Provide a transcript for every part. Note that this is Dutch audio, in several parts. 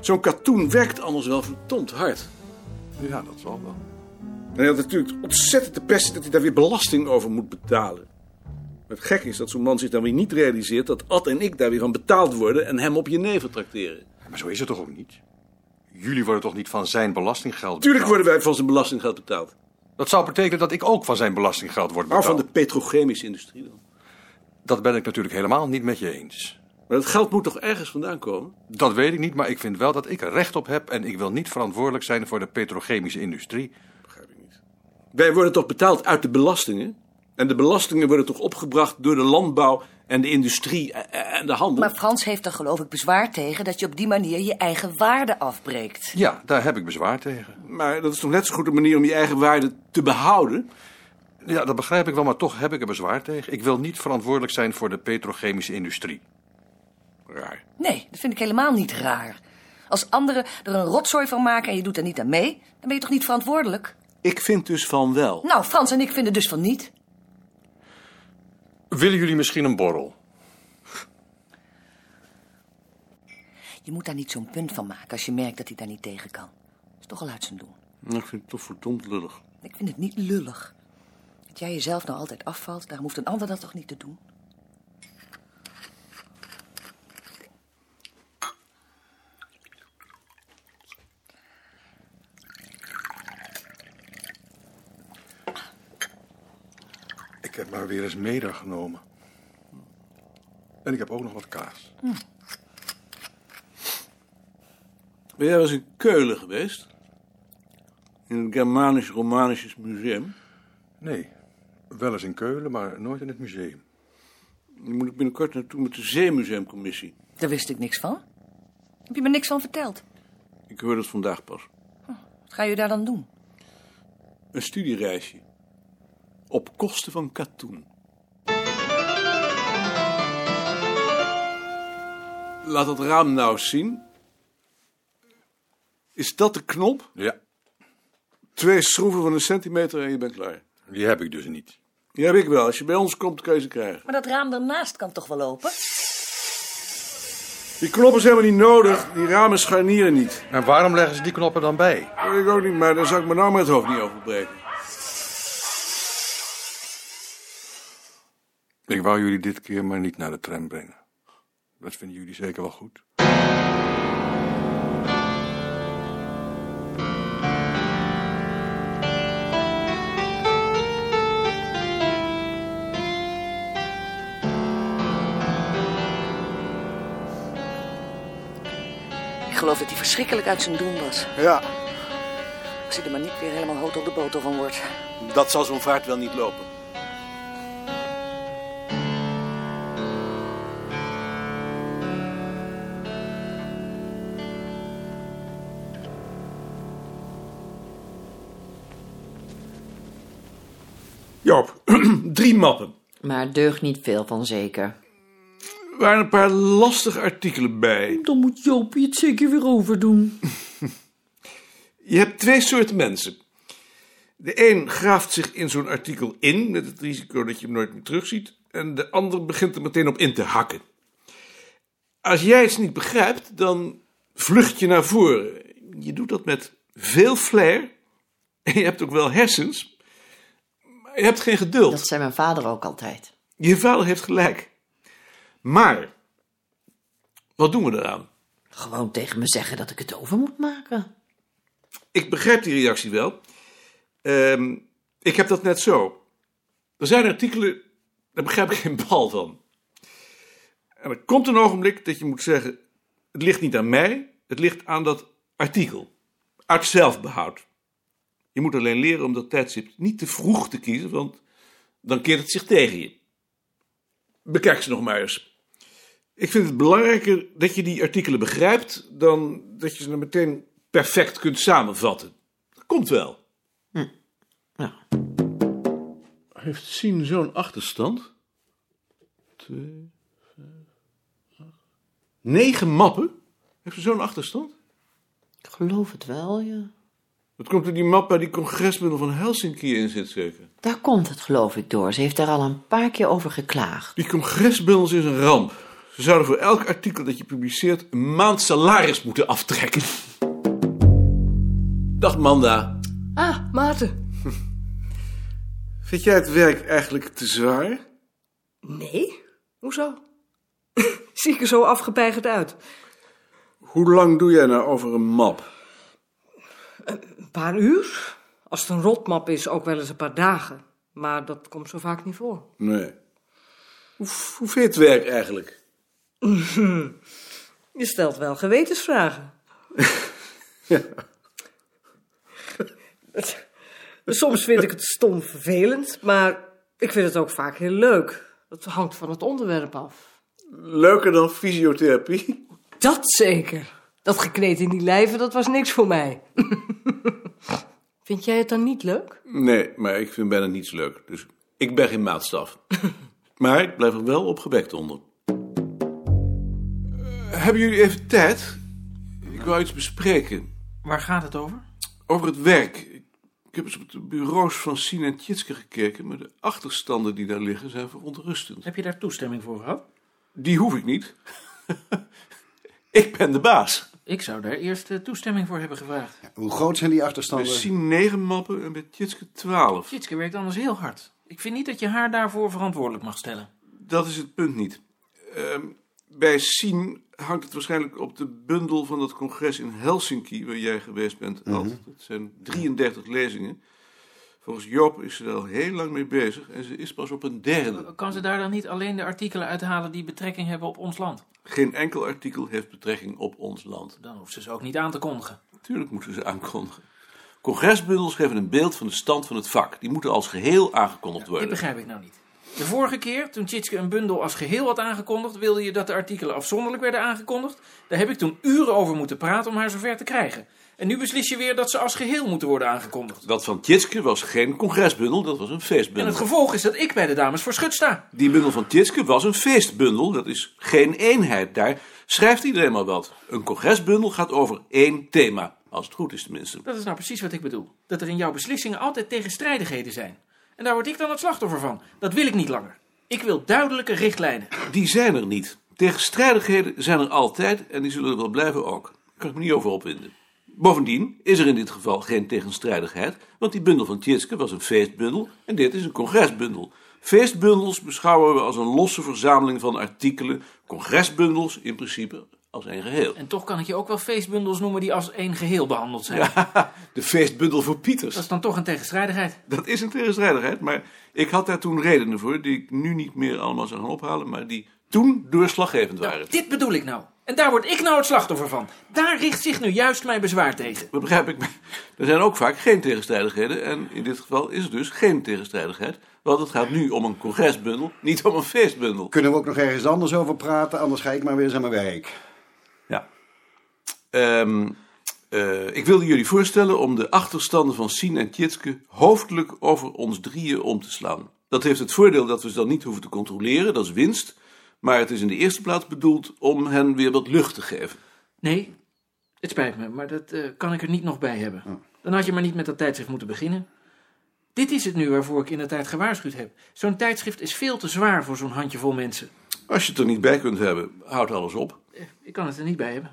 Zo'n katoen werkt anders wel verdomd hard. Ja, dat zal wel. En hij had natuurlijk ontzettend de pest dat hij daar weer belasting over moet betalen. Maar het gek is dat zo'n man zich dan weer niet realiseert dat Ad en ik daar weer van betaald worden en hem op je neven tracteren. Maar zo is het toch ook niet? Jullie worden toch niet van zijn belastinggeld betaald? Tuurlijk worden wij van zijn belastinggeld betaald. Nou. Dat zou betekenen dat ik ook van zijn belastinggeld word Maar betaald. van de petrochemische industrie dan. Dat ben ik natuurlijk helemaal niet met je eens. Maar dat geld moet toch ergens vandaan komen? Dat weet ik niet, maar ik vind wel dat ik er recht op heb... en ik wil niet verantwoordelijk zijn voor de petrochemische industrie. Begrijp ik niet. Wij worden toch betaald uit de belastingen? En de belastingen worden toch opgebracht door de landbouw en de industrie en- en en de handel? Maar Frans heeft er geloof ik bezwaar tegen dat je op die manier je eigen waarde afbreekt. Ja, daar heb ik bezwaar tegen. Maar dat is toch net zo goed een manier om je eigen waarde te behouden? Ja, dat begrijp ik wel, maar toch heb ik er bezwaar tegen. Ik wil niet verantwoordelijk zijn voor de petrochemische industrie. Raar. Nee, dat vind ik helemaal niet raar. Als anderen er een rotzooi van maken en je doet er niet aan mee, dan ben je toch niet verantwoordelijk? Ik vind dus van wel. Nou, Frans en ik vinden dus van niet. Willen jullie misschien een borrel? Je moet daar niet zo'n punt van maken als je merkt dat hij daar niet tegen kan. Dat is toch al uit zijn doen. Nou, Ik vind het toch verdomd lullig. Ik vind het niet lullig. Dat jij jezelf nou altijd afvalt, daar hoeft een ander dat toch niet te doen? Ik heb maar weer eens meda genomen. En ik heb ook nog wat kaas. Ben jij wel eens in Keulen geweest? In het Germanisch-Romanisch Museum. Nee, wel eens in Keulen, maar nooit in het museum. Daar moet ik binnenkort naartoe met de Zeemuseumcommissie. Daar wist ik niks van. Heb je me niks van verteld? Ik hoorde het vandaag pas. Wat ga je daar dan doen? Een studiereisje. Op kosten van katoen. Laat dat raam nou eens zien. Is dat de knop? Ja, Twee schroeven van een centimeter en je bent klaar. die heb ik dus niet. Die heb ik wel. Als je bij ons komt, kun je ze krijgen. Maar dat raam daarnaast kan toch wel open? Die knop is helemaal niet nodig. Die ramen scharnieren niet. En waarom leggen ze die knoppen dan bij? Dat weet ik ook niet, maar daar zou ik me nou met het hoofd niet over breken. Ik wou jullie dit keer maar niet naar de tram brengen. Dat vinden jullie zeker wel goed. Ik geloof dat hij verschrikkelijk uit zijn doen was. Ja, Als hij er maar niet weer helemaal hout op de boter van wordt. dat zal zo'n vaart wel niet lopen. Joop, drie mappen. Maar deugt niet veel van zeker. Er waren een paar lastige artikelen bij. Dan moet Jopie het zeker weer overdoen. Je hebt twee soorten mensen. De een graaft zich in zo'n artikel in met het risico dat je hem nooit meer terugziet, en de ander begint er meteen op in te hakken. Als jij iets niet begrijpt, dan vlucht je naar voren. Je doet dat met veel flair en je hebt ook wel hersens, maar je hebt geen geduld. Dat zei mijn vader ook altijd. Je vader heeft gelijk. Maar, wat doen we eraan? Gewoon tegen me zeggen dat ik het over moet maken. Ik begrijp die reactie wel. Ehm, ik heb dat net zo. Er zijn artikelen, daar begrijp ik geen bal van. En er komt een ogenblik dat je moet zeggen: het ligt niet aan mij, het ligt aan dat artikel. Uit zelfbehoud. Je moet alleen leren om dat tijdstip niet te vroeg te kiezen, want dan keert het zich tegen je. Bekijk ze nog maar eens. Ik vind het belangrijker dat je die artikelen begrijpt dan dat je ze dan meteen perfect kunt samenvatten. Dat komt wel. Ja. Heeft zien zo'n achterstand? Twee, vijf, acht. Negen mappen? Heeft ze zo'n achterstand? Ik geloof het wel, ja. Dat komt door die map waar die congresmiddel van Helsinki in zit, zeker. Daar komt het geloof ik door. Ze heeft daar al een paar keer over geklaagd. Die congresbundels is een ramp. Ze zouden voor elk artikel dat je publiceert een maand salaris moeten aftrekken. Dag Manda. Ah, Maarten. Vind jij het werk eigenlijk te zwaar? Nee? Hoezo? Zie ik er zo afgepeigerd uit? Hoe lang doe jij nou over een map? Een paar uur? Als het een rotmap is, ook wel eens een paar dagen. Maar dat komt zo vaak niet voor. Nee. Hoe, hoe vind je het werk eigenlijk? Je stelt wel gewetensvragen. Het- Soms vind ik het stom vervelend, maar ik vind het ook vaak heel leuk. Dat hangt van het onderwerp af. Leuker dan fysiotherapie? Dat zeker. Dat gekneed in die lijven, dat was niks voor mij. vind jij het dan niet leuk? Nee, maar ik vind bijna niets leuk. Dus ik ben geen maatstaf. maar ik blijf er wel opgewekt onder. Eh, hebben jullie even tijd? Ik wil iets bespreken. Waar gaat het over? Over het werk. Ik ik heb eens op de bureaus van Sien en Tjitske gekeken, maar de achterstanden die daar liggen zijn verontrustend. Heb je daar toestemming voor gehad? Die hoef ik niet. ik ben de baas. Ik zou daar eerst eh, toestemming voor hebben gevraagd. Hoe groot zijn die Bij achterstanden? Sien 9 mappen en bij Tjitske 12. Jitske werkt anders heel hard. Ik vind niet dat je haar daarvoor verantwoordelijk mag stellen. Dat is het punt niet. Ehm, bij Sien hangt het waarschijnlijk op de bundel van dat congres in Helsinki, waar jij geweest bent, Ad. Dat zijn 33 lezingen. Volgens Joop is ze er al heel lang mee bezig en ze is pas op een derde. Kan ze daar dan niet alleen de artikelen uithalen die betrekking hebben op ons land? Geen enkel artikel heeft betrekking op ons land. Dan hoeft ze ze ook niet aan te kondigen. Natuurlijk moeten ze aankondigen. Congresbundels geven een beeld van de stand van het vak. Die moeten als geheel aangekondigd Dit worden. begrijp ik nou niet. De vorige keer, toen Tjitske een bundel als geheel had aangekondigd, wilde je dat de artikelen afzonderlijk werden aangekondigd. Daar heb ik toen uren over moeten praten om haar zover te krijgen. En nu beslis je weer dat ze als geheel moeten worden aangekondigd. Dat van Tjitske was geen congresbundel, dat was een En het feestbundel. gevolg is dat ik bij de dames voor schut sta. Die bundel van Tjitske was een feestbundel, dat is geen eenheid. Daar schrijft iedereen maar wat. Een congresbundel gaat over één thema, als het goed is tenminste. Dat is nou precies wat ik bedoel. Dat er in jouw beslissingen altijd tegenstrijdigheden zijn. En daar word ik dan het slachtoffer van. Dat wil ik niet langer. Ik wil duidelijke richtlijnen. Die zijn er niet. Tegenstrijdigheden zijn er altijd en die zullen er wel blijven ook. Daar kan ik me niet over opwinden. Bovendien is er in dit geval geen tegenstrijdigheid, want die bundel van Tjitske was een feestbundel en dit is een congresbundel. Feestbundels beschouwen we als een losse verzameling van artikelen, congresbundels in principe als één geheel. En toch kan ik je ook wel feestbundels noemen die als één geheel behandeld zijn. De feestbundel voor Pieters. Dat is dan toch een tegenstrijdigheid. Dat is een tegenstrijdigheid, maar ik had daar toen redenen voor die ik nu niet meer allemaal zou gaan ophalen, maar die toen doorslaggevend waren. Dit bedoel ik nou. En daar word ik nou het slachtoffer van. Daar richt zich nu juist mijn bezwaar tegen. Dat begrijp ik. maar Er zijn ook vaak geen tegenstrijdigheden en in dit geval is er dus geen tegenstrijdigheid, want het gaat nu om een congresbundel, niet om een feestbundel. Kunnen we ook nog ergens anders over praten? Anders ga ik maar weer eens aan mijn werk. Ja. Ehm, eh, ik wilde jullie voorstellen om de achterstanden van Sien en Tjitske hoofdelijk over ons drieën om te slaan. Dat heeft het voordeel dat we ze dan niet hoeven te controleren, dat is winst. Maar het is in de eerste plaats bedoeld om hen weer wat lucht te geven. Nee, het spijt me, maar dat eh, kan ik er niet nog bij hebben. Dan had je maar niet met dat tijdschrift moeten beginnen. Dit is het nu waarvoor ik in de tijd gewaarschuwd heb. Zo'n tijdschrift is veel te zwaar voor zo'n handjevol mensen. Als je het er niet bij kunt hebben, houd alles op. Eh, Ik kan het er niet bij hebben.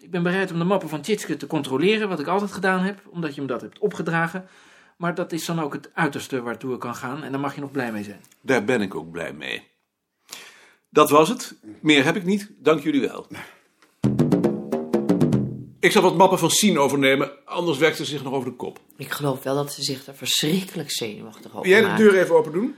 Ik ben bereid om de mappen van Tjitske te controleren, wat ik altijd gedaan heb, omdat je me dat hebt opgedragen. Maar dat is dan ook het uiterste waartoe ik kan gaan en daar mag je nog blij mee zijn. Daar ben ik ook blij mee. Dat was het. Meer heb ik niet. Dank jullie wel. Ik zal wat mappen van Sien overnemen, anders werkt ze zich nog over de kop. Ik geloof wel dat ze zich er verschrikkelijk zenuwachtig over Wil jij de maakt. deur even open doen?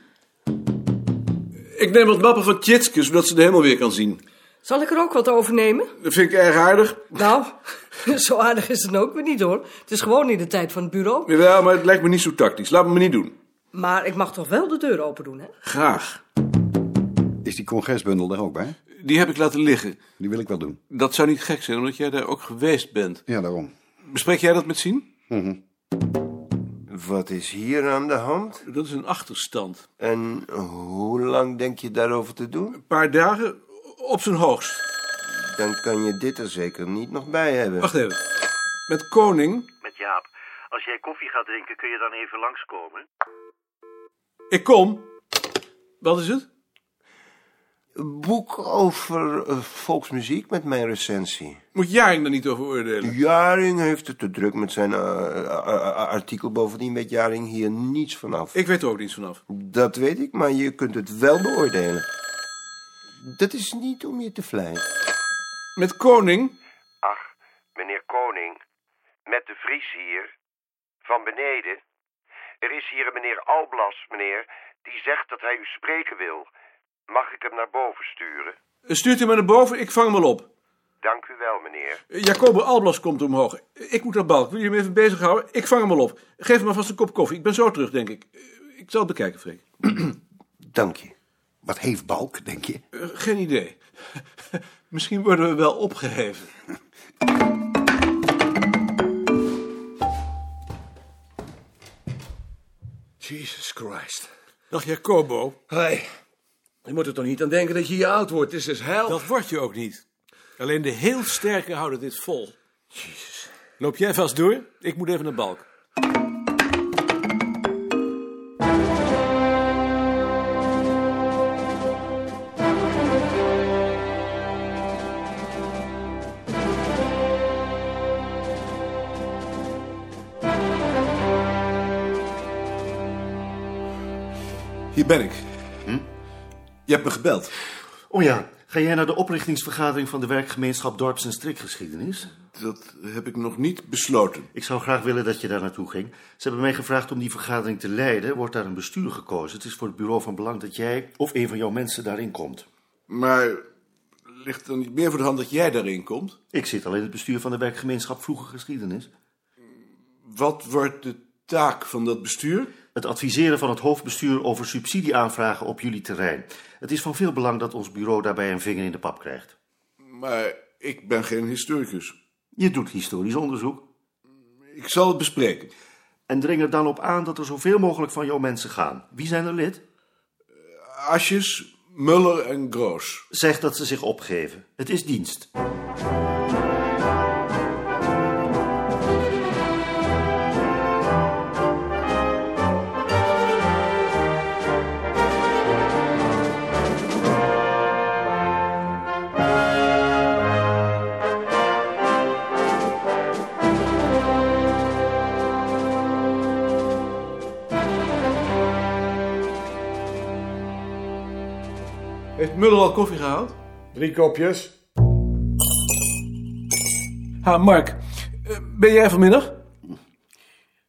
Ik neem wat mappen van Tjitske, zodat ze de hemel weer kan zien. Zal ik er ook wat overnemen? Dat vind ik erg aardig. Nou, zo aardig is het ook weer niet hoor. Het is gewoon in de tijd van het bureau. Jawel, maar het lijkt me niet zo tactisch. Laat me maar niet doen. Maar ik mag toch wel de deur open doen, hè? Graag. Is die congresbundel daar ook bij? Die heb ik laten liggen. Die wil ik wel doen. Dat zou niet gek zijn, omdat jij daar ook geweest bent. Ja, daarom. Bespreek jij dat met Sien? Wat is hier aan de hand? Dat is een achterstand. En hoe lang denk je daarover te doen? Een paar dagen op zijn hoogst. Dan kan je dit er zeker niet nog bij hebben. Wacht even. Met Koning. met Jaap. Als jij koffie gaat drinken, kun je dan even langskomen? Ik kom. Wat is het? Boek over eh, volksmuziek met mijn recensie. Moet Jaring daar niet over oordelen? Jaring heeft het te druk met zijn eh, eh, eh, artikel. Bovendien weet Jaring hier niets vanaf. Ik weet er ook niets vanaf. Dat weet ik, maar je kunt het wel beoordelen. Dat is niet om je te vleien. Met Koning? Ach, meneer Koning, met de Vries hier, van beneden. Er is hier een meneer Alblas, meneer, die zegt dat hij u spreken wil. Mag ik hem naar boven sturen? Stuurt u me naar boven, ik vang hem wel op. Dank u wel, meneer. Jacobo Alblas komt omhoog. Ik moet naar Balk. Wil je hem even bezighouden? Ik vang hem wel op. Geef me vast een kop koffie. Ik ben zo terug, denk ik. Ik zal het bekijken, Freek. Dank je. Wat heeft Balk, denk je? Eh, geen idee. Misschien worden we wel opgeheven. Jesus Christ. Dag Jacobo. Hey, je moet er toch niet aan denken dat je hier oud wordt. Dit is dus hel. Dat word je ook niet. Alleen de heel sterken houden dit vol. Jezus. Loop jij vast door? Ik moet even naar Balk. Hier ben ik. Je hebt me gebeld. Oh ja, ga jij naar de oprichtingsvergadering van de werkgemeenschap Dorps- en Strikgeschiedenis? Dat heb ik nog niet besloten. Ik zou graag willen dat je daar naartoe ging. Ze hebben mij gevraagd om die vergadering te leiden. Wordt daar een bestuur gekozen? Het is voor het bureau van belang dat jij of een van jouw mensen daarin komt. Maar ligt er niet meer voor de hand dat jij daarin komt? Ik zit al in het bestuur van de werkgemeenschap Vroege Geschiedenis. Wat wordt de taak van dat bestuur? Het adviseren van het hoofdbestuur over subsidieaanvragen op jullie terrein. Het is van veel belang dat ons bureau daarbij een vinger in de pap krijgt. Maar ik ben geen historicus. Je doet historisch onderzoek. Ik zal het bespreken. En dring er dan op aan dat er zoveel mogelijk van jouw mensen gaan. Wie zijn er lid? Asjes, Muller en Groos. Zeg dat ze zich opgeven. Het is dienst. Heeft Muller al koffie gehaald? Drie kopjes. Ha, Mark. Eh, Ben jij vanmiddag?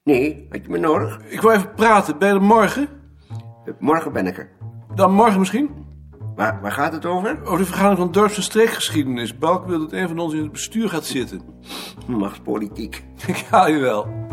Nee, had je me nodig? Ik wil even praten. Ben je er morgen? Morgen ben ik er. Dan morgen misschien? Waar, waar gaat het over? Over de vergadering van dorps- en streekgeschiedenis. Balk wil dat een van ons in het bestuur gaat zitten. Machtspolitiek. Ik haal je wel.